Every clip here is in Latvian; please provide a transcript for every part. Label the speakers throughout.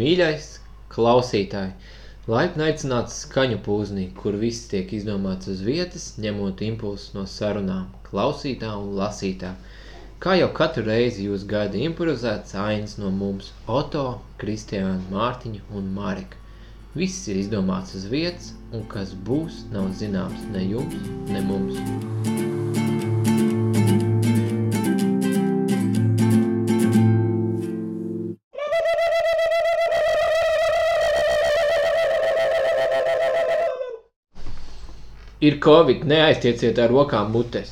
Speaker 1: Mīļais klausītāj! Laipni aicināts skaņu pūznī, kur viss tiek izdomāts uz vietas, ņemot impulsus no sarunām, klausītā un lasītā. Kā jau katru reizi jūs gaida improvizēts ainas no mums - Oto, Kristiāna, Mārtiņa un Marika. Viss ir izdomāts uz vietas, un kas būs, nav zināms ne jums, ne mums. Ir covid, neaiztieciet ar rokām mutes.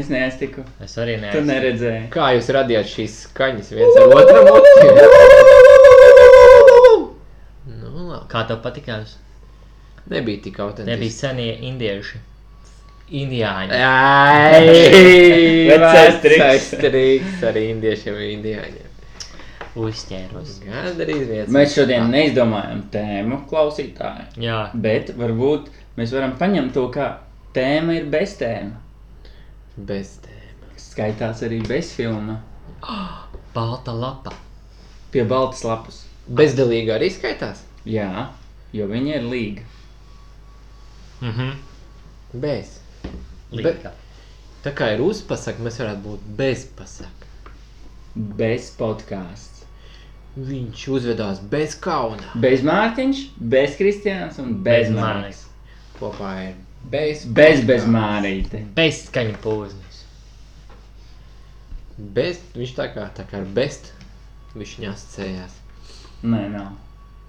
Speaker 2: Es neaiztiku.
Speaker 3: Es arī
Speaker 2: Tu
Speaker 3: neesmu.
Speaker 2: neredzēji.
Speaker 1: Kā jūs radījāt šīs skaņas viens ar otru muti? Nu, labi.
Speaker 3: Kā tev patīkās?
Speaker 1: Nebija tik
Speaker 3: Nebija
Speaker 1: autentiski.
Speaker 3: senie indieši. Indiāņi.
Speaker 1: Ai,
Speaker 2: Vecais triks.
Speaker 1: vecais triks ar indiešiem un indiāņiem.
Speaker 3: Uzķēros.
Speaker 1: Gan arī viens.
Speaker 2: Mēs šodien neizdomājam tēmu klausītāju,
Speaker 3: Jā,
Speaker 2: bet varbūt mēs varam paņemt to, kā tēma ir bez tēma.
Speaker 1: Bez tēma.
Speaker 2: Skaitās arī bez filma.
Speaker 3: balta lapa.
Speaker 2: Pie baltas lapas.
Speaker 1: Bezdelīgi arī skaitās?
Speaker 2: Jā, jo viņa ir līga.
Speaker 3: Mhm.
Speaker 1: Bez.
Speaker 3: Līga.
Speaker 1: Tā kā ir uzpasaka, mēs varētu būt bezpasaka.
Speaker 2: Bez podkāsts.
Speaker 1: Viņš uzvedās bez kauna.
Speaker 2: Bez Mārtiņš, bez Kristiāns un bez,
Speaker 3: Bez
Speaker 2: bez
Speaker 3: Māris.
Speaker 2: Mārijas.
Speaker 1: Kopā ir bez,
Speaker 2: Bez bez Mārīte.
Speaker 3: Bez skaņa pūznes.
Speaker 1: bez. Viņš tā kā, tā kā ar best. Viņš ņascējās.
Speaker 2: Nē, nav.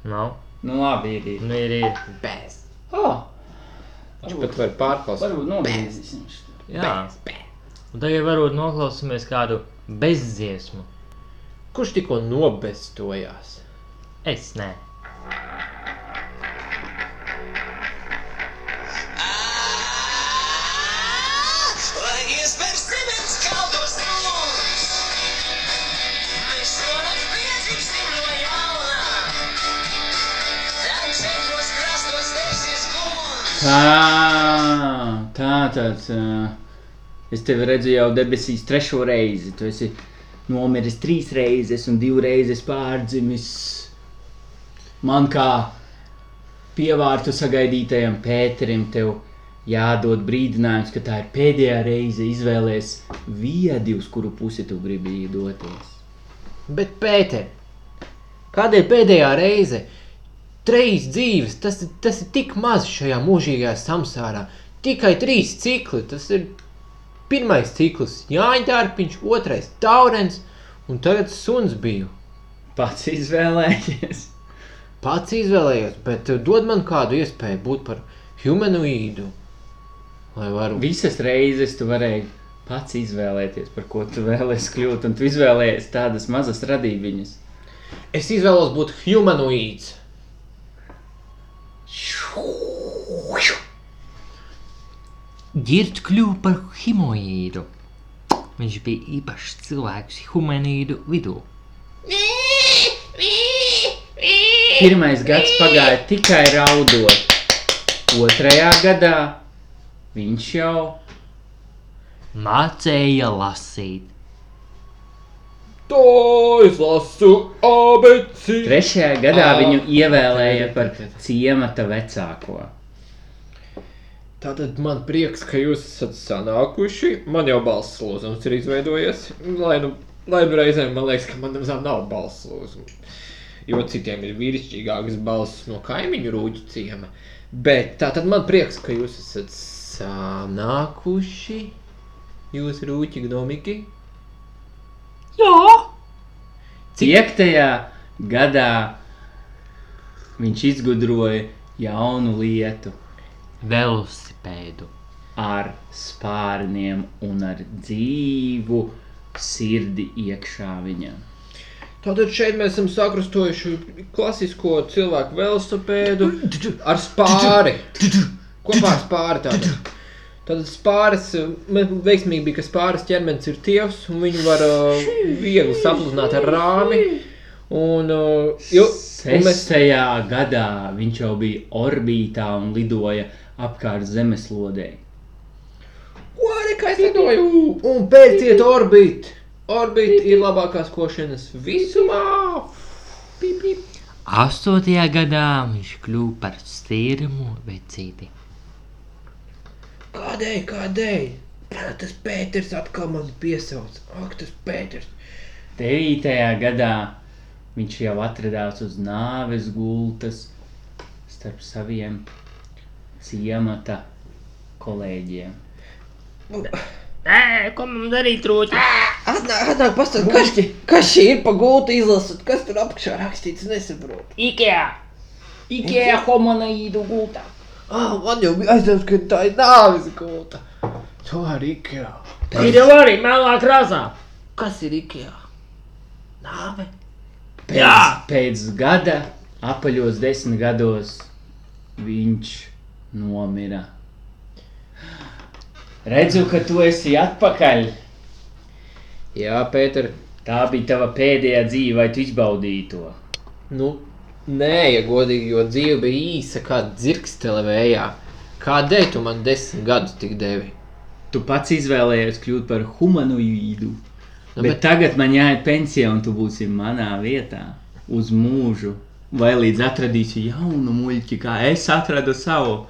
Speaker 3: Nav.
Speaker 2: Nu labi, ir. ir.
Speaker 3: Nu ir, ir.
Speaker 1: Bez.
Speaker 2: Oh,
Speaker 1: Viņš pat var pārklausīt.
Speaker 2: varbūt nobeigsim šo.
Speaker 3: Jā. Un tagad varbūt noklausīsimies kādu bezdziesmu.
Speaker 1: Kurš tikko nobestojās?
Speaker 3: Es nē.
Speaker 4: Lai iespējas simts kaldos mums, mēs šonakt piedzīvsim no jauna. Tad četros krastos teiksies guns.
Speaker 2: Tā, tā tāds. ā, Es tevi redzu jau debesīs trešo reizi. Tu esi nomiris trīs reizes un divreiz pārdzimis. Man kā pievārtu sagaidītajam Pēterim, tev jādod brīdinājums, ka tā ir pēdējā reize izvēlēties viedi, uz kuru pusi tu gribi doties.
Speaker 1: Bet, Pēter, kādēļ pēdējā reize, trīs dzīves, tas, ir- tas ir tik maz šajā mūžīgajā samsārā. Tikai trīs cikli. Tas ir pirmais cikls, Jāņa dārpiņš, otrais taurens, un tagad suns bija.
Speaker 2: Pats izvēlējies.
Speaker 1: Pats izvēlējos, bet eh, dod man kādu iespēju būt par humanoīdu. Lai varu.
Speaker 2: Visas reizes tu varēji pats izvēlēties, par ko tu vēlēsies kļūt, un tu izvēlējies tādas mazas radībiņas.
Speaker 1: Es izvēlos būt humanoīds.
Speaker 3: Girts kļuva par himoīdu. Viņš bija īpašs cilvēks humanīdu vidū.
Speaker 2: Pirmais gads pagāja tikai raudot. Otrajā gadā viņš jau
Speaker 3: Mācīja lasīt.
Speaker 1: To es lasu abecī.
Speaker 2: trešajā gadā
Speaker 1: Ā.
Speaker 2: viņu ievēlēja par ciemata vecāko.
Speaker 1: Tātad man prieks, ka jūs esat sanākuši. Man jau balss lūzums ir izveidojies. Lai nu, lai nu reizēm man liekas, ka man nemaz nav balss lūzums. Jo citiem ir vīrišķīgākas balss no kaimiņu rūģu ciema. Bet tātad man prieks, ka jūs esat sanākuši. Jūs rūķi gnomiki.
Speaker 2: Piektajā gadā viņš izgudroja jaunu lietu
Speaker 3: Velosipēdu.
Speaker 2: ar spārniem un ar dzīvu sirdi iekšā viņam.
Speaker 1: Tātad šeit mēs esam sakrustojuši klasisko cilvēku velosipēdu ar spāri. Kopā ar spāri tātad. Tātad spāris, mē- veiksmīgi bija, ka spāris ķermenis ir tievs un viņu var uh, viegli sapludināt ar rāmi. Un, uh, jo, un mēs
Speaker 2: Sestajā gadā viņš jau bija orbītā un lidoja apkārt Zemeslodē.
Speaker 1: Ko arī kā es lidoju? Un pēciet orbīt! Orbīt ir labākās košanas visumā! Pip, pip.
Speaker 3: Astotajā gadā viņš kļuva par stīrumu vecīti.
Speaker 1: Kādēļ, kādēļ? Pā, Tas Pēters atkal man piesauc. Ak, tas Pēters.
Speaker 2: 9. gadā viņš jau atradās uz nāves gultas starp saviem ciemata kolēģiem.
Speaker 3: Nē, ko man darīt, rūķi?
Speaker 1: Atnāk, atnāk, pastāst, kas, kas šī ir pa gultu izlasot, kas tur apakšā rakstīts, nesaprotu.
Speaker 2: Ikea! Ikea homonaīdu gultā!
Speaker 1: Ah, man jau bija aizdoms, ka tā ir nāvis gulta. To ar Ikea.
Speaker 2: Ir jau arī melnā krāsā!
Speaker 1: Kas ir Ikea? Nāve?
Speaker 2: Pēc, pēc gada, apaļos desmit gados, viņš nomira. Redzu, ka tu esi atpakaļ.
Speaker 1: Jā, Pēter,
Speaker 2: Tā bija tava pēdējā dzīve, vai tu izbaudīji to?
Speaker 1: nu, nē, ja godīgi, jo dzīve bija īsa kā dzirkstele vējā. Kādēļ tu man desmit gadus tik devi?
Speaker 2: Tu pats izvēlējies kļūt par humanoīdu.
Speaker 1: Nu,
Speaker 2: Nu, bet, bet tagad man jāiet pensijā, un tu būsi manā vietā uz mūžu. Vai līdz atradīšu jaunu muļķi, kā es atradu savu.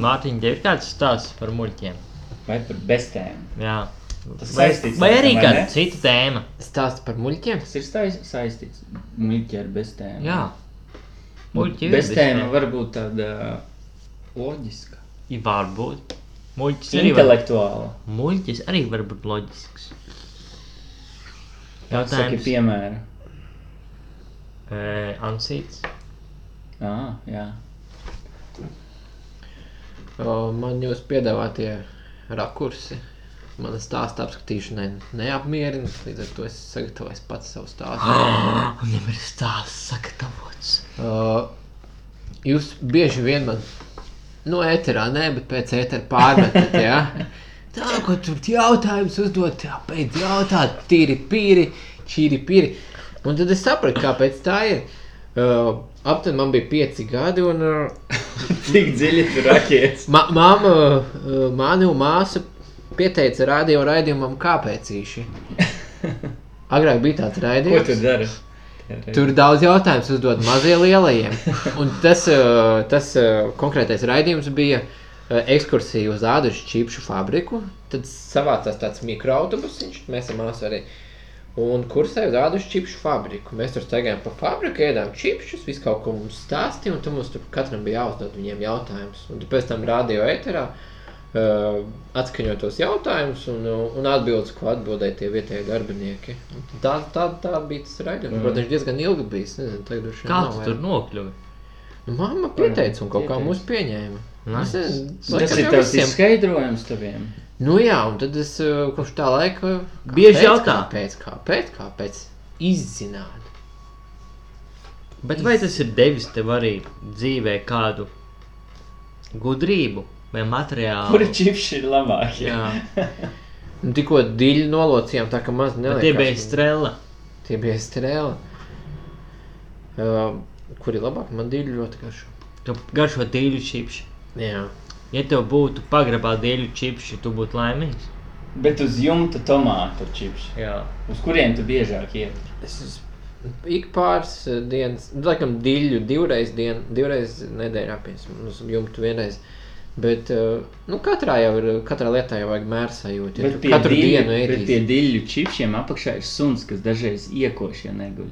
Speaker 3: Mātiņa, tev ir kāds stāsts par muļķiem?
Speaker 2: Vai par bestēm?
Speaker 3: Jā.
Speaker 2: Tas
Speaker 3: Vai,
Speaker 2: saistīts
Speaker 3: vai
Speaker 2: ar
Speaker 3: arī
Speaker 2: to, vai
Speaker 3: kāda
Speaker 2: ne?
Speaker 3: cita tēma?
Speaker 1: Stāsti par muļķiem?
Speaker 2: Tas ir stais- saistīts muļķi ar bestēm.
Speaker 3: Jā. Muļķi ir
Speaker 2: bestēma
Speaker 3: bestēma.
Speaker 2: var būt tāda uh, loģiska.
Speaker 3: Ja Varbūt. Muļķis arī, var,
Speaker 2: Intelektuāla.
Speaker 3: muļķis arī var būt loģisks.
Speaker 2: Saki
Speaker 3: Jautājums. eh,
Speaker 2: piemēru.
Speaker 3: Ē, Ansīts.
Speaker 2: Ah, jā.
Speaker 1: O, Man jūs piedāvātie rakursi. Mana stāsta apskatīšanai neapmierina, līdz ar to es sagatavoju pats savu stāstu.
Speaker 3: Viņam ir stāsts sagatavots.
Speaker 1: Uh, jūs bieži vien man, no ēterā, nē, bet pēc ētera pārmetat, ja? Tā, ko tur jautājums uzdot, tā, pēc jautāt, tīri pīri, čīri pīri. Un tad es sapratu, kāpēc tā ir. Uh, Aptuveni man bija pieci gadi, un uh,
Speaker 2: Tik dziļi tur raķēts.
Speaker 1: ma māma, uh, mani un māsa pieteica radio raidījumam kāpēcīši. Agrāk bija tāds
Speaker 2: Ko
Speaker 1: raidījums.
Speaker 2: tu dari?
Speaker 1: Tur daudz jautājumu uzdod mazie lielajiem. Un tas, eh, tas eh, konkrētais raidījums bija eh, ekskursija uz ādažu čipšu fabriku. Tad savācās tāds mikroautobusiņš, mēs ar māsu arī. Un kursēja uz ādažu čipšu fabriku. Mēs tur staigājām pa fabriku, ēdām čipšus, visu kaut ko mums stāstīja, un tur mums tur katram bija jāuzdod viņiem jautājumus. Un tad pēc tam radio ēterā uh, atskaņot tos jautājumus un, uh, un atbildēs, ko atbildēja tie vietējie darbinieki. Tā, tā, tā bija tas raidījums. Mm. Protams, diezgan ilgi bijis. Nezinu, tagad droši vien
Speaker 3: Kā
Speaker 1: nav
Speaker 3: tu
Speaker 1: vairāk.
Speaker 3: tur nokļuvi?
Speaker 1: Nu, Mamma pieteica un kaut kā
Speaker 2: Pieteica.
Speaker 1: mūs pieņēma. Es
Speaker 3: Nice.
Speaker 1: nezinu,
Speaker 2: Tas
Speaker 1: laikam
Speaker 2: ir
Speaker 1: jau
Speaker 2: tavs
Speaker 1: visiem.
Speaker 2: izskaidrojums taviem.
Speaker 1: Nu jā, un tad es uh, kopš tā laika
Speaker 3: Bieži
Speaker 1: kāpēc,
Speaker 3: jautā.
Speaker 1: Kāpēc, kāpēc, kāpēc? Izzināt.
Speaker 3: Bet vai tas ir devis tev arī dzīvē kādu gudrību vai materiālu?
Speaker 2: Kuri čipši ir labākie?
Speaker 3: Jā,
Speaker 1: Nu, tikko diļi nolocījām, tā ka maz
Speaker 3: bet
Speaker 1: neliekas.
Speaker 3: tie bija strela.
Speaker 1: Tie bija strēli. Uh, kuri labāk man diļi ļoti garšo.
Speaker 3: Tu garšo dīļu čipši.
Speaker 1: Jā.
Speaker 3: Ja tev būtu pagrabā dīļu čipši, tu būtu laimīgs.
Speaker 2: Bet uz jumta tomātu čipši.
Speaker 3: Jā.
Speaker 2: Uz kuriem tu biežāk iet?
Speaker 1: Es uz- ik pāris eh, dienas, laikam, diļu divreiz, dien, divreiz nedēļā pieņemsim, jumtu vienreiz. Bet eh, nu, katrā, jau ir, katrā lietā jau vajag mērsajūt. Ja
Speaker 2: Bet
Speaker 1: tu
Speaker 2: pie
Speaker 1: katru
Speaker 2: diļu-
Speaker 1: dienu
Speaker 2: bet pie
Speaker 1: ēdīsi.
Speaker 2: diļu čipšiem apakšā ir suns, kas dažreiz iekoš, ja neguļ.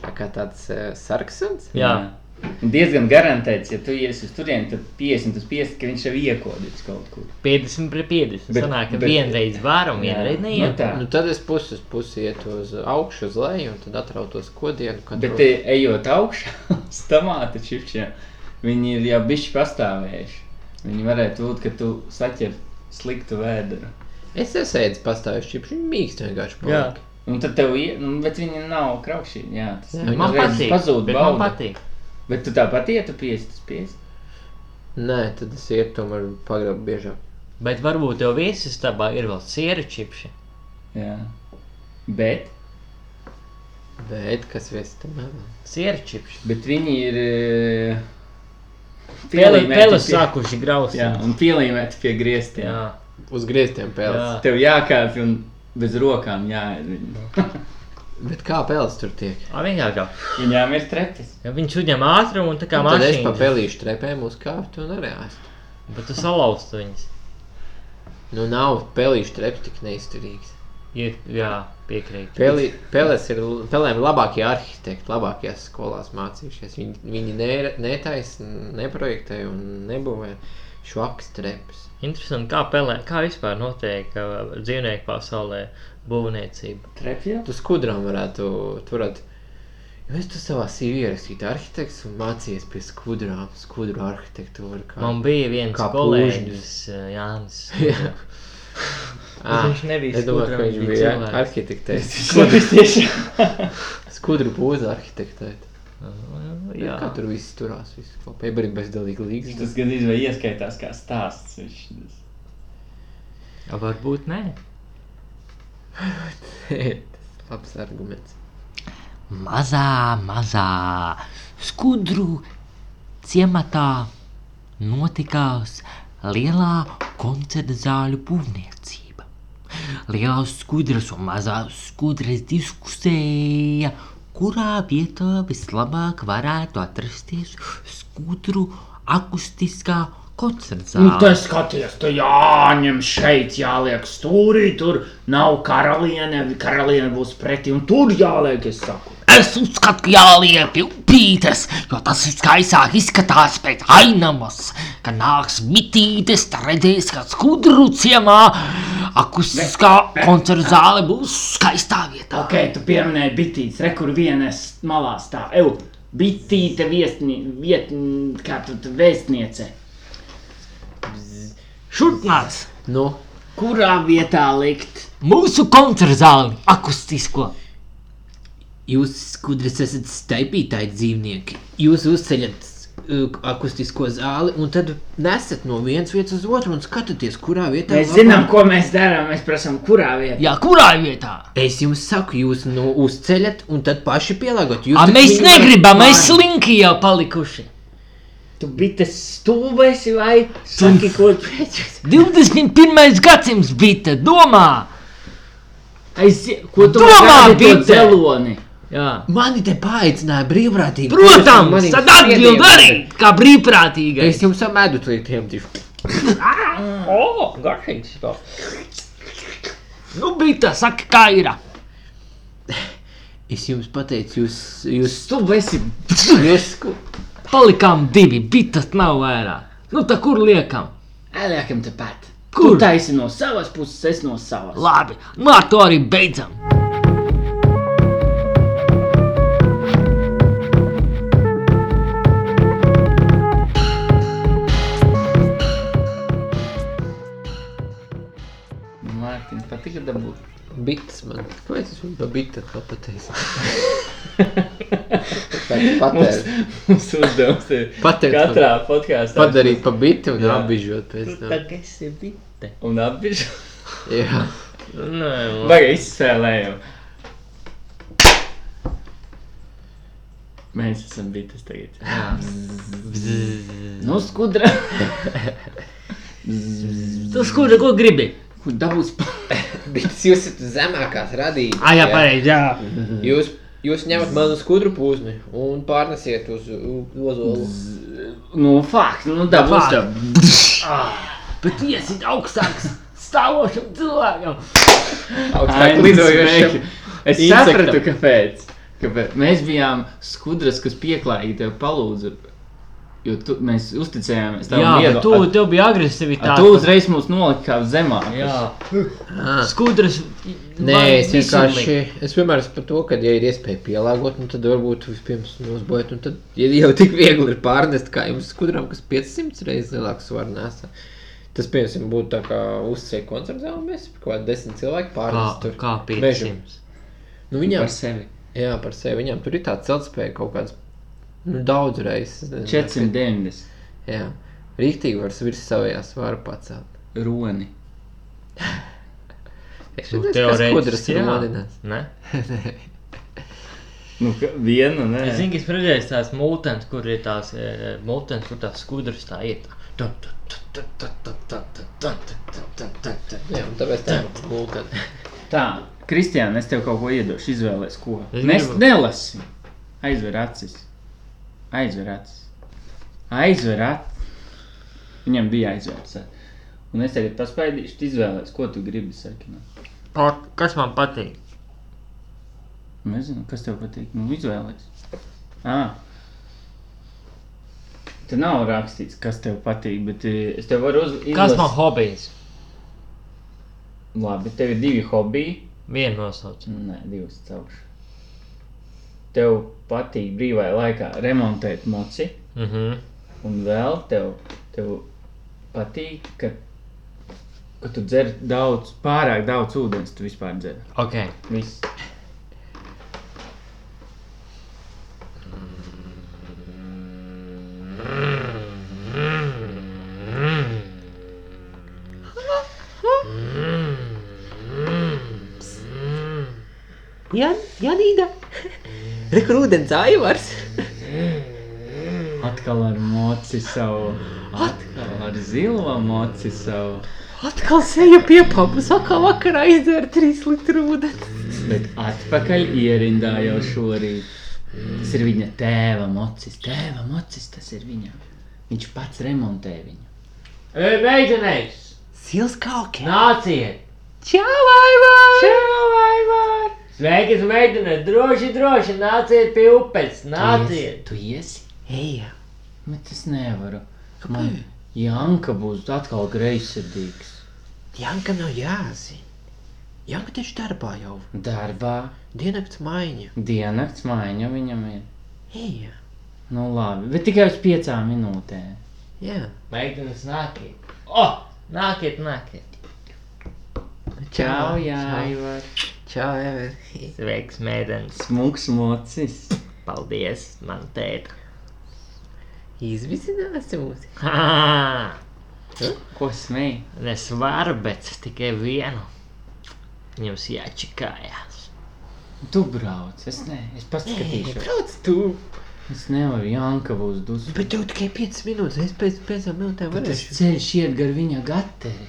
Speaker 1: Tā kā tāds uh, sarksans.
Speaker 3: Jā.
Speaker 2: Un Diezgan garantēts, ja tu iesi uz turieni, tad 50 uz 50, ka viņš jau iekodis kaut kur.
Speaker 3: 50 pret 50.
Speaker 2: Bet-
Speaker 3: Bet, Sanāk, ka
Speaker 2: bet-
Speaker 3: bet, vienreiz var un
Speaker 2: Jā.
Speaker 3: vienreiz
Speaker 2: Nu,
Speaker 3: neiet.
Speaker 2: tā.
Speaker 1: Nu, tad es pusi uz pusi ietu uz augšu, uz leju, un tad atrautos kodienu. katru-
Speaker 2: Bet te, ejot augšā uz tomātu čipšiem, viņi ir jau bišķi pastāvējuši. Viņi varētu būt, ka tu saķer sliktu vēdru.
Speaker 1: Es esmu pastāvējis čipši, viņi mīkst vienkārši. paliek.
Speaker 2: Un tad tev ir, nu, bet viņi nav kraukšķīgi. Jā, tas
Speaker 1: Jā,
Speaker 2: viņi
Speaker 3: Man
Speaker 2: uzreiz
Speaker 3: patīk.
Speaker 2: Pazūd,
Speaker 3: bet
Speaker 2: bauda.
Speaker 3: man patīk.
Speaker 2: Bet tu tāpat ietu 50 uz 50.
Speaker 1: Nē, tad es ietu tomēr pagrabu biežāk.
Speaker 3: Bet varbūt tev viesistabā ir vēl siera čipši.
Speaker 2: Jā. Bet
Speaker 1: Bet kas vēsta mēlā?
Speaker 3: Sierčips.
Speaker 2: Bet viņi ir. eh, pielīmēti
Speaker 3: Pelis
Speaker 2: pie-
Speaker 3: sākuši graust.
Speaker 2: Jā, un pielīmēti pie griestiem.
Speaker 3: jā.
Speaker 1: Uz grieztiem pēles.
Speaker 3: Jā.
Speaker 2: Tev jākāpj un bez rokām jā.
Speaker 1: Bet kā pēles tur tiek?
Speaker 3: A, vienkārši. kā-
Speaker 2: Viņām ir tretis.
Speaker 3: Ja viņš uzņem ātrumu un tā kā
Speaker 2: Nu,
Speaker 1: Un tad es
Speaker 3: mašīna.
Speaker 1: pa pelīšu trepēm uzkāptu un arī āstu.
Speaker 3: Bet tu salauztu viņus.
Speaker 1: Nu nav pelīšu treps tik neizturīgs.
Speaker 3: Ir, jā, piekrīt.
Speaker 1: Peli, peles ir l- pelēm labākie arhitekti, labākajās skolās mācījušies. Viņi, viņi ne- netaisa, neprojektē un nebūvē švaks treps.
Speaker 3: Interesanti, kā, pelē, kā vispār notiek ā, dzīvnieku pasaulē būvniecība.
Speaker 2: Trepja?
Speaker 1: Tu skudrām varētu turēt. Jo es tu savā CV ierakstīju arhitekts un mācījies pie skudrām, skudru arhitektūru. Kā...
Speaker 3: Man bija viens
Speaker 1: kā
Speaker 3: kolēģis, ā, Jānis.
Speaker 1: Jā. Ā,
Speaker 3: Viņš nebija
Speaker 1: es domāju,
Speaker 3: skudra,
Speaker 1: ka
Speaker 3: viņš
Speaker 1: viņš
Speaker 3: bija
Speaker 1: bija
Speaker 3: cilvēks.
Speaker 1: arhitektēs. Skudru būza arhitektēt. Jā. Kā
Speaker 3: Uh, Jā,
Speaker 1: tur viss turās, viss kopā. Piebarīgi bezdalīgi līgas.
Speaker 2: Tas gandrīz vai ieskaitās kā stāsts. Viņš...
Speaker 3: varbūt nē.
Speaker 1: Tas labs arguments.
Speaker 5: mazā, mazā skudru ciematā notikās lielā koncerta zāļu būvniecība. Lielās skudras un mazās skudras diskusēja, kurā vietā vislabāk varētu atrasties skudru akustiskā koncerta
Speaker 2: Un
Speaker 5: zāle.
Speaker 2: tas skaties, tu jāņem šeit, jāliek stūrī, tur nav karaliene, karaliene būs pretī, un tur jāliek, es saku.
Speaker 5: Es uzskatu, ka jāliek pie upītes, jo tas viskaisāk izskatās pēc ainavas. Kad nāks mitītes, tad redzēs, ka skudru ciemā akustiskā koncerta zāle būs skaistā vietā.
Speaker 2: Ok, tu pieminēji bitītes, re, kur vienas malā stāv. Eju, bitīte viesni, vietni, kā tu tu vēstniece.
Speaker 5: Šurp nāc
Speaker 1: Nu,
Speaker 2: Kurā vietā likt?
Speaker 5: mūsu koncerta zāli, akustisko.
Speaker 6: Jūs, skudras, esat staipītāji dzīvnieki. Jūs uzceļat uh, akustisko zāli un tad nesat no vienas vietas uz otru un skatāties, kurā vietā
Speaker 2: Mēs
Speaker 6: labāk.
Speaker 2: zinām, ko mēs darām, mēs prasām, kurā vietā.
Speaker 5: Jā, kurā vietā?
Speaker 6: Es jums saku, jūs nu, uzceļat un tad paši pielāgot. Jūs
Speaker 5: A,
Speaker 6: taču
Speaker 5: mēs
Speaker 6: viņu
Speaker 5: negribam, mēs slinki jau palikuši.
Speaker 2: Tu bites stūvēsi vai saki, ko tu pēc?
Speaker 5: 21. gadsimts bija domā.
Speaker 2: Aizie, ko tu
Speaker 5: Domā, bite!
Speaker 2: zeloni?
Speaker 5: Jā.
Speaker 6: var- Mani te paaicināja brīvprātīgi.
Speaker 5: Protams,
Speaker 1: manī
Speaker 5: tad atbild
Speaker 1: spiediens.
Speaker 5: arī, kā brīvprātīgais.
Speaker 1: es jums amēdu tiem tiem.
Speaker 3: O, garšīgs tas.
Speaker 5: Nu, bija tā, saka, kā ir.
Speaker 6: Es jums pateicu, jūs, jūs,
Speaker 2: Stūvēsi.
Speaker 1: Jūs sku...
Speaker 5: Palikām divi, bija tas nav vairāk. Nu, tā kur liekam?
Speaker 2: Ēliekam tepat.
Speaker 5: Kur?
Speaker 2: Kur taisi no savas puses, es no savas.
Speaker 5: Labi, nu ar to arī beidzam.
Speaker 2: Mārtiņ, patika dabūt.
Speaker 1: Bits man. Kāpēc es viņu pa bita kā pateicu? Patērēt.
Speaker 2: Mums uzdevums ir
Speaker 1: Patērēt.
Speaker 2: katrā podkāstā
Speaker 1: Padarīt pa bitu un
Speaker 2: Jā.
Speaker 1: apbižot pēc tam.
Speaker 2: esi bite. Un apbižu.
Speaker 1: Jā.
Speaker 3: Nē, man-
Speaker 2: Baga izspēlēju. Mēs esam bites tagad. Nu, skudra.
Speaker 5: Tas, kur, ko gribi?
Speaker 2: Kur dabūs? pa-
Speaker 1: Bits jūs esat zemākās radības.
Speaker 5: Ah, jā, pareizi, jā.
Speaker 1: Jūs, jūs ņemat manu skudru pūzni un pārnesiet uz u- ozolu.
Speaker 2: Nu, fakt, nu dabūs.
Speaker 5: Fakt.
Speaker 2: tev.
Speaker 5: Bet iesit augstāk stāvošam cilvēkam.
Speaker 1: Augstāk
Speaker 2: Ainas
Speaker 1: lidojošiem.
Speaker 2: nu, smēķi. Es
Speaker 1: insektam.
Speaker 2: sapratu, kāpēc. kāpēc. Mēs bijām skudras, kas pieklājīgi tev palūdza. Jo tu, mēs uzticējāmies tam
Speaker 3: Jā, bet tu,
Speaker 2: Tu,
Speaker 3: tev bija
Speaker 2: a, tu
Speaker 3: agresivitāte.
Speaker 2: uzreiz mūs noliki kā zemāk.
Speaker 3: Jā,
Speaker 1: Ah.
Speaker 3: skudras.
Speaker 1: Nē,
Speaker 3: man
Speaker 1: es
Speaker 3: visu
Speaker 1: vienkārši.
Speaker 3: liek.
Speaker 1: Es vienmēr esmu par to, ka, ja ir iespēja pielāgot, nu, tad varbūt vispirms nosbojāt. Un tad ja jau tik viegli ir pārnest, kā jums skudrām, kas 500 reizes lielāks svaru nesa. Tas, piemēram, būtu tā kā uzceļ koncerta zāli, mēs kaut kādi desmit cilvēki pārnest
Speaker 3: Kā,
Speaker 1: tur.
Speaker 3: kā
Speaker 1: mežam.
Speaker 3: 500.
Speaker 1: Nu,
Speaker 2: Viņam
Speaker 1: viņām,
Speaker 2: par sevi.
Speaker 1: jā, par sevi viņām tur ir tāds celtspēja kaut kāds, nu, daudz reizes. es nezinu,
Speaker 2: 490
Speaker 1: ka- Jā, rīktīgi var virs savajā svaru pacelt.
Speaker 2: roni.
Speaker 1: Es
Speaker 3: Nu,
Speaker 1: redzēju, ka skudras ir
Speaker 3: jā.
Speaker 1: modinās.
Speaker 3: Ne?
Speaker 2: Nu, ka- viena, nē.
Speaker 3: Es zinu, ka es redzēju tās mūtens, kur ir tās eh, mūtens, kur tās skudras tā iet. Dun, dun, dun, dun, dun, dun, dun, dun, dun, dun, dun, dun, dun.
Speaker 7: Jā, un tāpēc tā ir mūka.
Speaker 2: Tā, Kristiāna, es tev kaut ko iedošu, izvēlēs ko.
Speaker 3: Es
Speaker 2: Nes,
Speaker 3: gribu-
Speaker 2: nelasi. Aizver acis. Aizver acis. Aizver acis. Viņam bija aizvērts. Un es tagad paspaidīšu, tu izvēlēs, ko tu gribi sarkināt.
Speaker 3: Pat- Kas man patīk?
Speaker 2: Nezinu, Nu, kas tev patīk. Nu, izvēlēs. Ā. Te nav rakstīts, kas tev patīk, bet eh, es tev varu uz...
Speaker 3: Kas
Speaker 2: izlasīt.
Speaker 3: man hobijs?
Speaker 2: Labi, tev ir divi hobiji.
Speaker 3: Vienu nosauc.
Speaker 2: Nu, Nē, divas cauršas. Tev patīk brīvajā laikā remontēt moci,
Speaker 3: Mhm.
Speaker 2: un vēl tev, tev patīk, ka, ka tu dzer daudz, pārāk daudz ūdens. Tu vispār dzer.
Speaker 3: Ok.
Speaker 2: Viss.
Speaker 1: Jā, Jā, Nīda. Rekrūdens Aivars.
Speaker 2: Atkal ar moci savu. Atkal ar zilo moci savu.
Speaker 1: Atkal seja pie papas, atkal vakarā izdzēra trīs litru ūdeni.
Speaker 2: Bet atpakaļ ierindā jau šorīt. Tas ir viņa tēva mocis. Tēva mocis tas ir viņa. Viņš pats remontē viņu.
Speaker 3: Ei, meitenēs!
Speaker 1: Sils kalki.
Speaker 3: Nāciet!
Speaker 1: Čau, Aivar!
Speaker 3: Sveikas, meitenes! Droši, droši nāciet pie upes! Nāciet!
Speaker 2: Tu iesi?
Speaker 1: Eja.
Speaker 2: Bet es nevaru. Man Janka būs atkal greizsirdīgs.
Speaker 1: Janka nav jāzina. Janka taču darbā jau
Speaker 2: Darbā
Speaker 1: diennakts maiņa.
Speaker 2: diennakts maiņa viņam ir.
Speaker 1: Eja.
Speaker 2: Nu labi, bet tikai uz piecām minūtēm.
Speaker 1: Jā.
Speaker 3: Meitenes, nāciet! O! Nāciet, nāciet!
Speaker 2: Čau,
Speaker 1: nu
Speaker 2: Jāivar.
Speaker 1: Čau, Aivar.
Speaker 3: Sveiks, meitenes!
Speaker 2: Smuks mocis.
Speaker 3: Paldies, man tēta!
Speaker 1: Izvicināsi mūs.
Speaker 3: Ha!
Speaker 2: Ko smēji?
Speaker 3: Nesvaru, bet tikai vienu. Jums jāčikājās.
Speaker 2: Tu brauc, es ne, es paskatīšos.
Speaker 1: Brauc tu.
Speaker 2: Es nevaru, Janka būs dusmīga.
Speaker 1: Bet tev tikai 5 minūtes. Es pēc 5 minūtēm
Speaker 2: Tas
Speaker 1: varēšu.
Speaker 2: ceļš iet gar viņa gateri.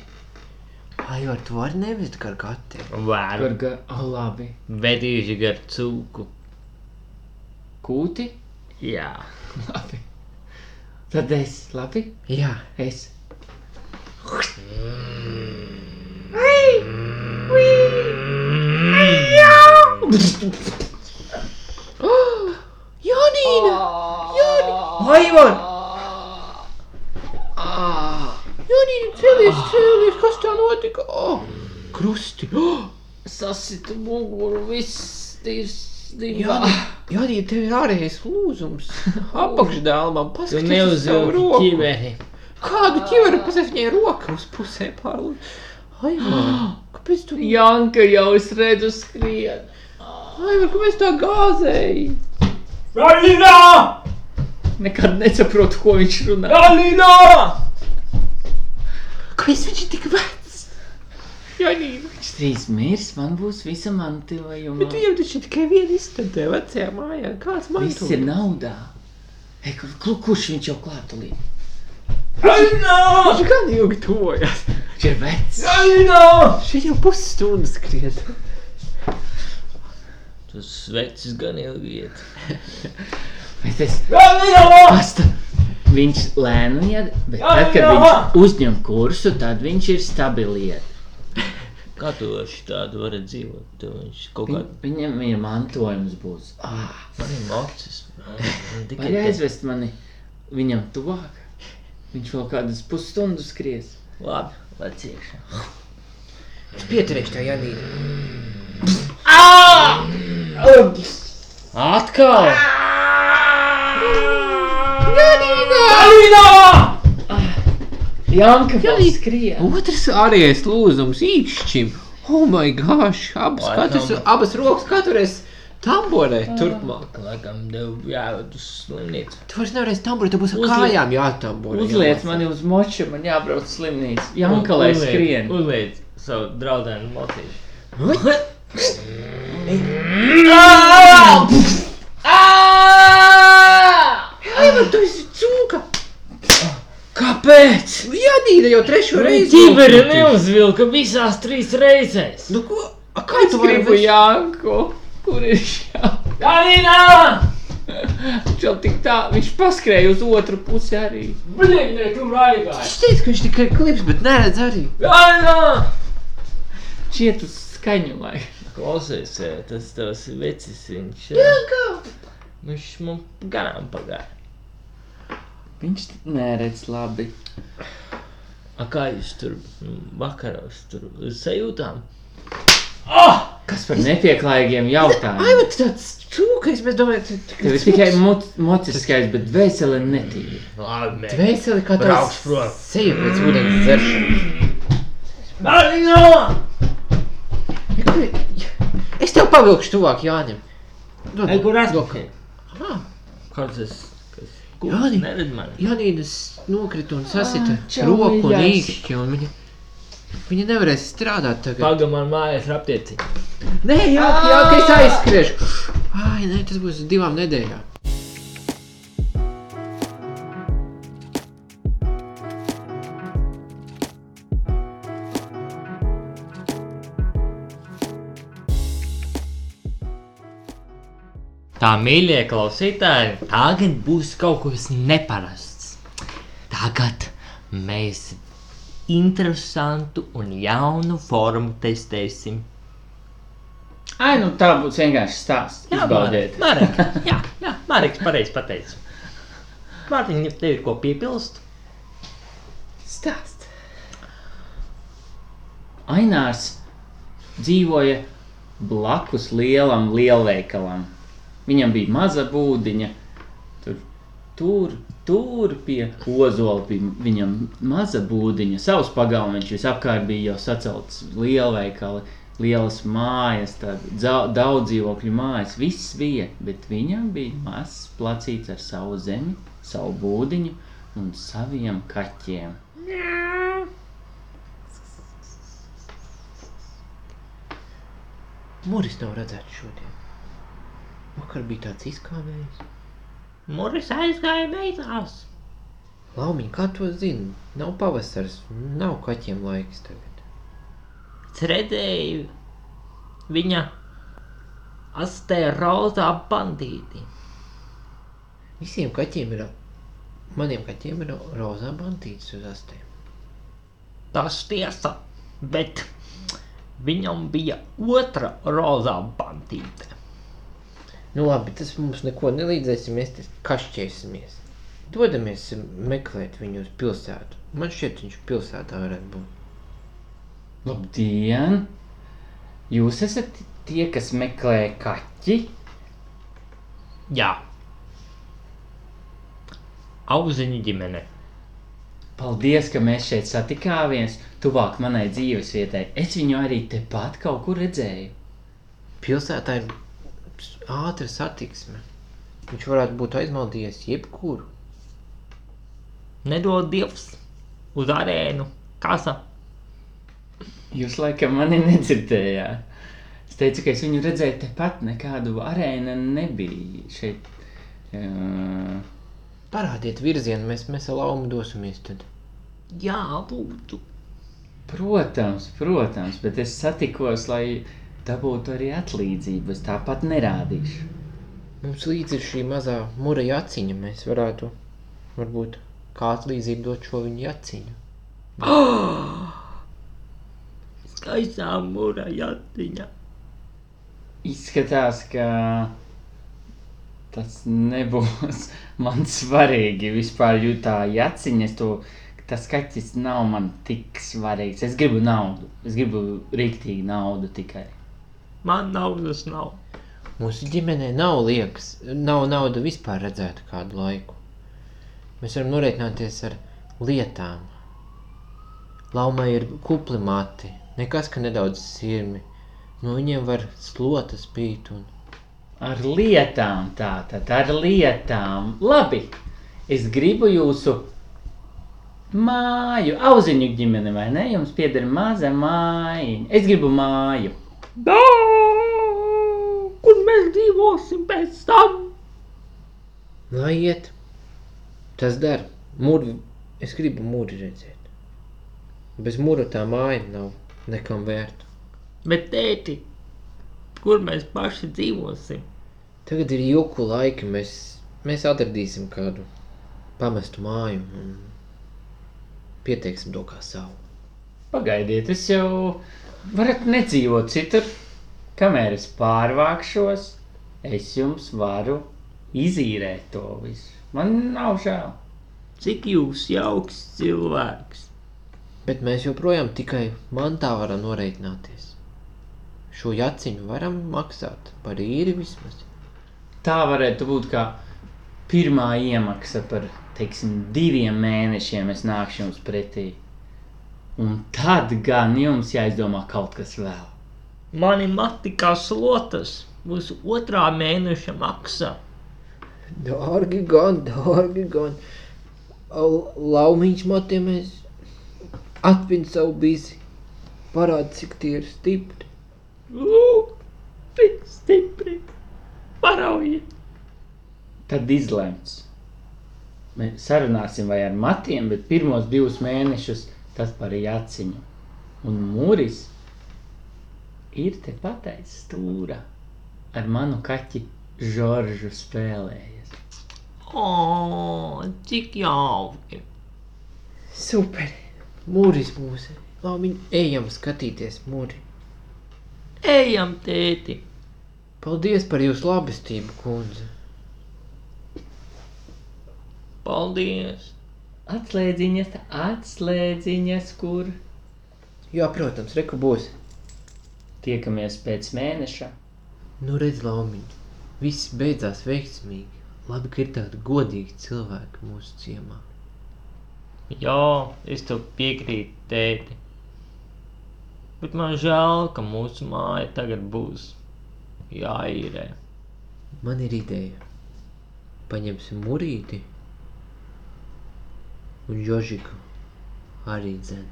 Speaker 1: Aivar, tu vari nevist gar gati.
Speaker 3: Varu
Speaker 2: Gar ga... oh, labi.
Speaker 3: vedīšu gar cūku.
Speaker 2: Kūti?
Speaker 3: Jā.
Speaker 2: Labi. Tad es, labi?
Speaker 1: Jā.
Speaker 2: Es.
Speaker 1: Janīna! Janīna!
Speaker 2: Aivar!
Speaker 1: Janīna, cēlies, cēlies! Kas tā notika? Oh, krusti! Oh,
Speaker 2: Sasitu muguru, viss
Speaker 1: Jā,
Speaker 2: tīrs.
Speaker 1: Janīna, tev ir ārējais lūzums. Apakšdēlmam,
Speaker 3: Tu
Speaker 1: paskaties uz savu
Speaker 3: neuzvilki
Speaker 1: roku.
Speaker 3: ķiveri.
Speaker 1: Kādu ķiveru paskaties viņai roka uz pusē pārlūdzu? Aivar, kāpēc tu...
Speaker 2: Janka jau es redzu skrien.
Speaker 1: Aivar, kāpēc tā gāzēji?
Speaker 2: Nekad nesaprotu, ko viņš runā. Alina!
Speaker 1: Kāpēc viņš ir tik vecs? Janīna,
Speaker 2: Viņš trīs mirs, man būs visa mantojuma.
Speaker 1: bet viņam taču ir tikai viena istantē vecajā mājā. Kāds man
Speaker 2: Viss ir naudā. Ei, kur- kur- kurš viņš jau klātulī?
Speaker 1: Viņš gan ilgi tuvojas.
Speaker 2: Viņš ir vecs.
Speaker 1: Šeit jau pusstundas skriet.
Speaker 3: Tu svecis gan ilgi iet.
Speaker 2: Bet es... Asta! Viņš lēnu iet, bet tad, kad viņš uzņem kursu, tad viņš ir stabiliet.
Speaker 3: Kā tu ar šitādu vari dzīvot? Tev viņš kaut kā
Speaker 2: Viņam ir mantojums būs. Ah,
Speaker 3: man ir mocis. Man Tikai
Speaker 2: Vai
Speaker 3: te-
Speaker 2: aizvest mani viņam tuvāk? Viņš vēl kādas pusstundu skries.
Speaker 3: Labi, lec iekšā.
Speaker 1: Pieturēšu tev, Janīna.
Speaker 3: Atkal!
Speaker 2: Ah, Janka vēl skrien.
Speaker 1: Otrs ārējais lūzums īkšķim. Oh, my gosh! Abas,
Speaker 3: Laikam.
Speaker 1: katrs, abas rokas katrs tamborē turpmāk.
Speaker 3: Laikam tev jāved uz slimnīcu.
Speaker 1: Tu vairs nevarēsi tamborēt, tev būs ar
Speaker 2: Uzliec-
Speaker 1: kājām jātamborē.
Speaker 2: Uzliec
Speaker 1: jāmācās.
Speaker 2: mani uz moča, man jābrauc uz slimnīcu. Janka, lai
Speaker 3: Uzliec-
Speaker 2: skrien.
Speaker 3: Uzliec savu draudēnu motīšu.
Speaker 1: Zinīda jau trešo reizi.
Speaker 3: Ķiberi
Speaker 1: nokrita.
Speaker 3: neuzvilka visās trīs reizēs.
Speaker 1: Nu ko? A, kā tu vari
Speaker 2: Gribu Jāko, kur ir Jāko?
Speaker 3: Kalina!
Speaker 2: Viņš jau tik tā, viņš paskrēja uz otru pusi arī.
Speaker 3: Блин, блядь, tu raigāji!
Speaker 1: Viņš teica, ka viņš tikai klips, bet neredz arī.
Speaker 3: Kalina!
Speaker 2: Šiet uz skaņu lai.
Speaker 3: Klausies, ē, tas tavs vecis, viņš... Jā, kā? Viņš man garām pagāja.
Speaker 2: Viņš neredz labi.
Speaker 3: A kā jūs tur mm, vakaros tur sajūtām?
Speaker 2: Kas par nepieklājīgiem
Speaker 1: Ai,
Speaker 2: jautājumiem?
Speaker 1: bet tāds čūkais, mēs domājam,
Speaker 2: Tev ir tikai mo- mociskais, bet veseli netīri.
Speaker 3: Labi, mē.
Speaker 1: Veiseli kā tāds
Speaker 3: Brauks prom.
Speaker 1: seja pēc ūdens dzeršana.
Speaker 3: Kalina!
Speaker 1: Ja kur- Es tev pavilkšu tuvāk Jānim. Dod
Speaker 3: Ei,
Speaker 1: man.
Speaker 3: kur esmu?
Speaker 1: Dod. Ah,
Speaker 3: Kāds es... Kas?
Speaker 1: Jāni.
Speaker 3: Kur? Neredz mani.
Speaker 1: Janīnas nokrita un sasita
Speaker 2: Ah, čau,
Speaker 1: roku un
Speaker 2: mīļais.
Speaker 1: īkšķi, un viņa, viņa nevarēs strādāt tagad.
Speaker 3: Paga man mājās raptieci.
Speaker 1: Nē, jā, jā, ka es aizskriešu. Ai, nē, tas būs divām nedēļām.
Speaker 3: Tā, mīļie klausītāji, tagad būs kaut kas neparasts. Tagad mēs interesantu un jaunu formu testēsim.
Speaker 2: Ai, nu tā būs vienkārši stāsts. Izbaudiet.
Speaker 3: Marek, jā, jā, Mareks pareizi pateica. Mārtiņ, ja tev ir ko piepilst?
Speaker 2: Stāsts. Ainārs dzīvoja blakus lielam lielveikalam. Viņam bija maza būdiņa. Tur, tur, tur pie ozola bija viņam maza būdiņa. Savs pagalmiņš visapkārt bija jau sacelts lielveikali, lielas mājas, tādi dzau- daudz dzīvokļu mājas. Viss bija, bet viņam bija mazs placīts ar savu zemi, savu būdiņu un saviem kaķiem.
Speaker 1: Mūris nav redzēts šodien. Vakar bija tāds izkāpējis.
Speaker 3: Moris aizgāja beigās.
Speaker 1: Laumiņ, kā to zini? Nav pavasars, nav kaķiem laiks tagad.
Speaker 3: Es redzēju viņa astē rozā bandīti.
Speaker 1: Visiem kaķiem ir, maniem kaķiem ir rozā bantītes uz astēm.
Speaker 3: Tas tiesa, bet viņam bija otra rozā bandīte.
Speaker 1: Nu labi, tas mums neko nelīdzēs, ja mēs te kašķēsimies. Dodamies meklēt viņu uz pilsētu. Man šķiet, viņš pilsētā varētu būt.
Speaker 2: Labdien! Jūs esat tie, kas meklē kaķi?
Speaker 3: Jā. Auziņu ģimene.
Speaker 2: Paldies, ka mēs šeit satikāmies tuvāk manai dzīvesvietai. Es viņu arī tepat kaut kur redzēju.
Speaker 1: Pilsētā ir ātra satiksme. Viņš varētu būt aizmaldījies jebkuru.
Speaker 3: Nedod dievs uz arēnu. Kasa.
Speaker 2: Jūs laikam mani nedzirdējāt. Es teicu, ka es viņu redzēju tepat, nekādu arēnu nebija šeit. Uh,
Speaker 1: Parādiet virzienu, mēs, mēs ar laumu dosimies tad.
Speaker 3: Jā, lūdzu.
Speaker 2: protams, protams, bet es satikos, lai dabūtu arī atlīdzības. Tāpat nerādīšu.
Speaker 1: Mums līdzi ir šī mazā mureja aciņa. Mēs varētu varbūt kā atlīdzību dot šo viņa aciņu.
Speaker 3: Skaistā mūra jātiņa.
Speaker 2: Izskatās, ka tas nebūs man svarīgi. Vispār jūtā jāciņas to. Tas kaķis nav man tik svarīgs. Es gribu naudu. Es gribu rīktīgi naudu tikai.
Speaker 3: Man naudas nav.
Speaker 1: Mūsu ģimenē nav liekas, nav nauda vispār redzēta kādu laiku. Mēs varam norēķināties ar lietām. Laumai ir kupli mati, nekas, ka nedaudz sirmi. No viņiem var slotas pīt un
Speaker 2: Ar lietām, tātad ar lietām. Labi, es gribu jūsu māju, auziņu ģimeni, vai ne? Jums pieder maza mājiņa. Es gribu māju.
Speaker 3: Da! Kur mēs dzīvosim pēc tam?
Speaker 1: lai iet. Tas der. Mūri, es gribu mūri redzēt. Bez mūra tā māja nav nekam vērta.
Speaker 3: Bet, tēti, kur mēs paši dzīvosim?
Speaker 1: Tagad ir juku laiki, mēs, mēs atradīsim kādu pamestu māju un pieteiksim to kā savu.
Speaker 2: Pagaidiet, es jau varat nedzīvot citur. Kamēr es pārvākšos, es jums varu izīrēt to visu. Man nav žēl.
Speaker 3: Cik jūs jauks cilvēks?
Speaker 1: Bet mēs joprojām tikai mantā varam noreikināties. Šo jaciņu varam maksāt par īri vismaz.
Speaker 2: Tā varētu būt kā pirmā iemaksa par, teiksim, diviem mēnešiem. Es nākšu jums pretī. Un tad gan jums jāizdomā kaut kas vēl.
Speaker 3: Mani mati kā slotas būs otrā mēneša maksa.
Speaker 1: Dārgi gan, dārgi gan. Au- Laumiņš matiem mēs atpin savu bizi. Parāda, cik tie ir stipri.
Speaker 3: Lūpi, stipri, paraujiet!
Speaker 2: Tad izlemts. Mēs sarunāsim vai ar matiem, bet pirmos divus mēnešus tas par jāciņu. Un mūris ir te patais stūra. Ar manu kaķi Žoržu spēlējies.
Speaker 3: O, cik jauki!
Speaker 1: Super. Mūris mūsu. Laumiņ, ejam skatīties mūri.
Speaker 3: Ejam, tēti!
Speaker 1: Paldies par jūsu labestību, kundze.
Speaker 3: Paldies!
Speaker 2: Atslēdziņas, atslēdziņas, kur
Speaker 1: Jā, protams, reku būs.
Speaker 2: tiekamies pēc mēneša.
Speaker 1: Nu redz, Laumiņ, viss beidzās veiksmīgi. Labi, ka ir tādi godīgi cilvēki mūsu ciemā.
Speaker 3: Jā, es tev piekrītu, tēti. Bet man žēl, ka mūsu māja tagad būs jāīrē.
Speaker 1: Man ir ideja. Paņemsim mūrīti un jožiku arī dzen.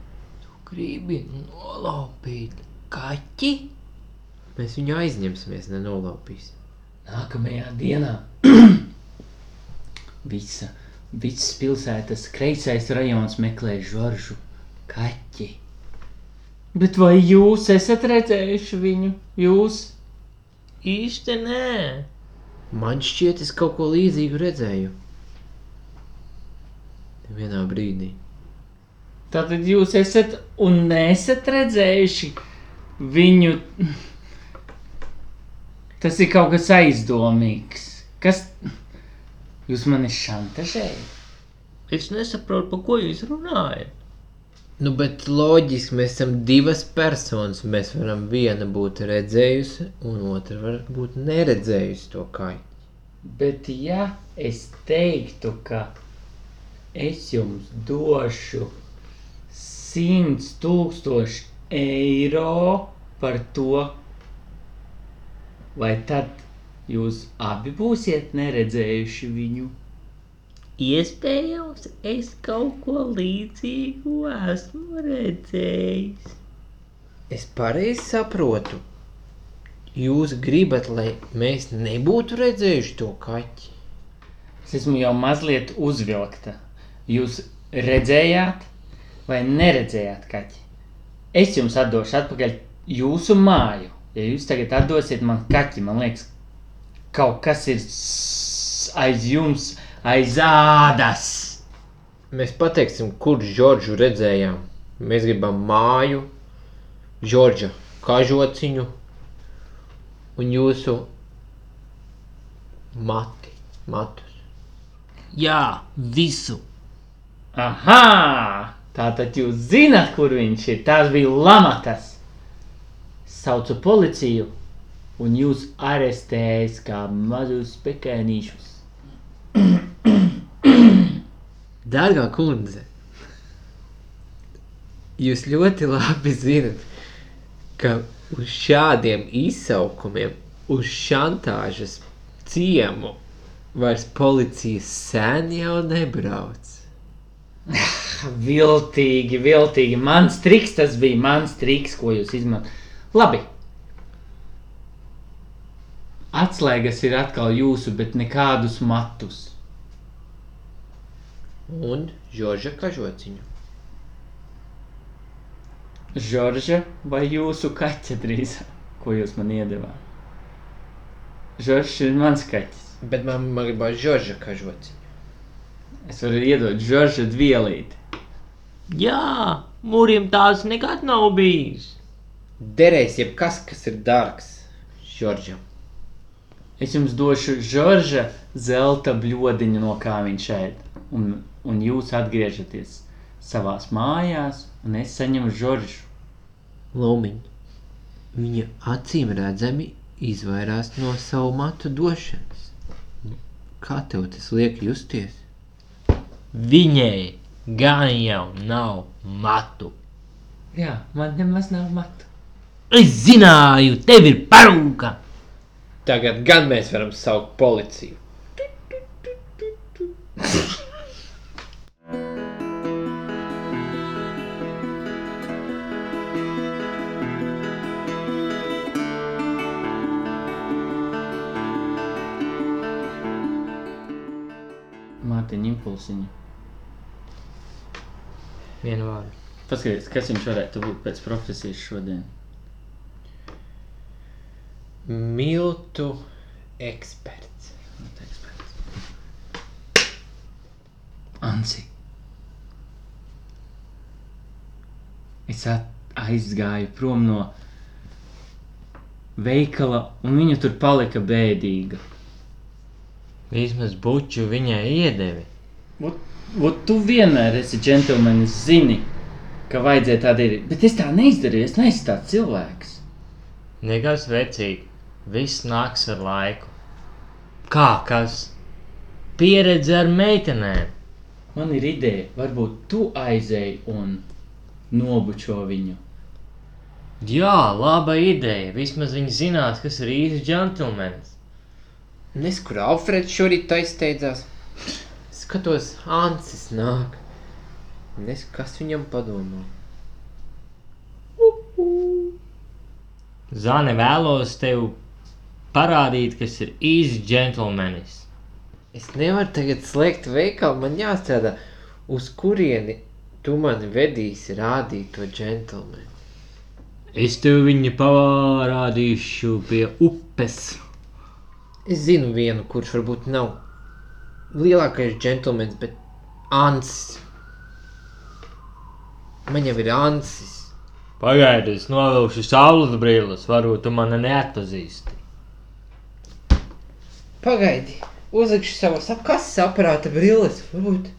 Speaker 3: Gribi nolaupīt kaķi?
Speaker 1: Mēs viņu aizņemsimies, nenolaupīsim.
Speaker 2: Nākamajā dienā visa, visas pilsētas kreisais rajons meklē žoržu kaķi. Bet vai jūs esat redzējuši viņu? Jūs?
Speaker 3: Īsti nē.
Speaker 1: Man šķiet, es kaut ko līdzīgu redzēju. Vienā brīdī.
Speaker 2: Tātad jūs esat un nesat redzējuši viņu. Tas ir kaut kas aizdomīgs. Kas? Jūs mani šantažējat?
Speaker 3: Es nesaprotu, par ko jūs runājat.
Speaker 1: Nu, bet loģiski mēs esam divas personas. Mēs varam viena būt redzējusi, un otra var būt neredzējusi to kaiju.
Speaker 2: Bet, ja es teiktu, ka es jums došu 100 tūkstoši eiro par to, vai tad jūs abi būsiet neredzējuši viņu?
Speaker 3: Iespējams, es kaut ko līdzīgu esmu redzējis.
Speaker 1: Es pareizi saprotu. Jūs gribat, lai mēs nebūtu redzējuši to kaķi?
Speaker 2: Es esmu jau mazliet uzvilkta. Jūs redzējāt vai neredzējāt kaķi? Es jums atdošu atpakaļ jūsu māju. Ja jūs tagad atdosiet man kaķi, man liekas, kaut kas ir s- aiz jums, aiz ādas.
Speaker 1: Mēs pateiksim, kurš Džordžu redzējām. Mēs gribam māju, Džordža kažociņu un jūsu mati, matus.
Speaker 8: Jā, visu.
Speaker 2: Aha! Tātad jūs zināt, kur viņš ir. Tās bija lamatas. Es Saucu policiju un jūs arestējis kā mazus pekēnīšus.
Speaker 1: Dārgā kundze, jūs ļoti labi zinat, ka uz šādiem izsaukumiem, uz šantāžas ciemu vairs policija sen jau nebrauc.
Speaker 2: Viltīgi, viltīgi. Mans triks, tas bija mans triks, ko jūs izmantojat. Labi. Atslēgas ir atkal jūsu, bet nekādus matus.
Speaker 1: Un Žorža kažociņu.
Speaker 2: Žorža vai jūsu kaķa drīzāk, ko jūs man iedavāt? Žoržs ir mans kaķis.
Speaker 1: Bet man, man gribās Žorža kažots.
Speaker 2: Es varu iedot Žorža dvielīti.
Speaker 3: Jā, mūrim tās nekad nav bijis.
Speaker 1: Derēs jebkas, kas ir dārgs Žoržam.
Speaker 2: Es jums došu Žorža zelta bļodiņu, no kā viņš šeit. Un, un jūs atgriežaties savās mājās, un es saņemu Žoržu.
Speaker 6: Lomiņ. Viņa acīm redzami izvairās no savu matu došanas. Kā tev tas liek justies?
Speaker 3: Viņai gan jau nav matu.
Speaker 2: Jā, man nemaz nav matu.
Speaker 3: Es zināju, tev ir parūka.
Speaker 1: Tagad gan mēs varam saukt policiju.
Speaker 2: Mārtiņa impulsiņa.
Speaker 3: Vienu vārdu.
Speaker 2: Paskatieties, kas viņš varētu būt pēc profesijas šodien.
Speaker 1: Miltu eksperts.
Speaker 2: Teiks pēc. Ansi. Es at- aizgāju prom no veikala, un viņa tur palika bēdīga.
Speaker 3: Vismaz buču viņai iedevi.
Speaker 2: Vot, vot tu vienmēr esi džentlmenis, zini, ka vajadzēja tā darīt. Bet es tā neizdarīju, es neesmu tāds cilvēks.
Speaker 3: Nekas vecīgi. Viss nāks ar laiku. Kā kas? Pieredze ar meitenēm.
Speaker 2: Man ir ideja, varbūt tu aizēji un nobučo viņu.
Speaker 3: Jā, laba ideja. Vismaz viņi zinās, kas ir īsts džentlmenis.
Speaker 1: Nes, kur Alfreds šorīt taisteidzās. Skatos, Ancis nāk. Nes, kas viņam padomā.
Speaker 3: Zane vēlos tev parādīt, kas ir īsts džentlmenis.
Speaker 1: Es nevaru tagad slēgt veikalu, man jāstrādā. Uz kurieni tu mani vedīsi rādīt to džentlmeni?
Speaker 3: Es tev viņu parādīšu pie upes.
Speaker 1: Es zinu vienu, kurš varbūt nav lielākais džentlmenis, bet Ancis. Man jau ir Ancis.
Speaker 3: Pagaidi, es novilkšu saules brilles, varbūt tu mani neatpazīsti.
Speaker 1: Pagaidi, uzlikšu savas apkases aparāta brilles. Varbūt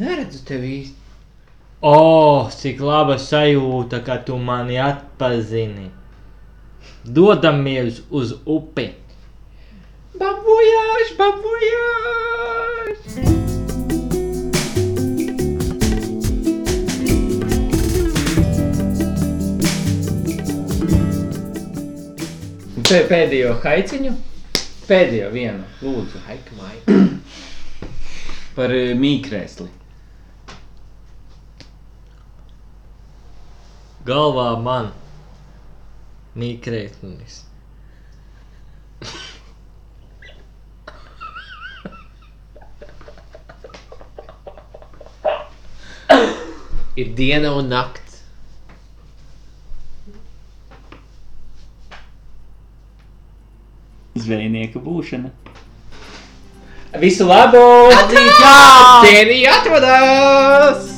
Speaker 1: neredzu tevi īsti.
Speaker 3: O, oh, cik laba sajūta, ka tu mani atpazini. Dodamies uz upi.
Speaker 1: Babujāš, babujāš!
Speaker 2: Un te pēdējo haiciņu, pēdējo vienu, lūdzu,
Speaker 1: Haika, maika.
Speaker 2: par eh, mīkrēsli.
Speaker 3: Galvā man mīkrētnis.
Speaker 1: Ir diena un nakts.
Speaker 2: Zvejnieka būšana. Visu labu!
Speaker 1: Tērija atvadās!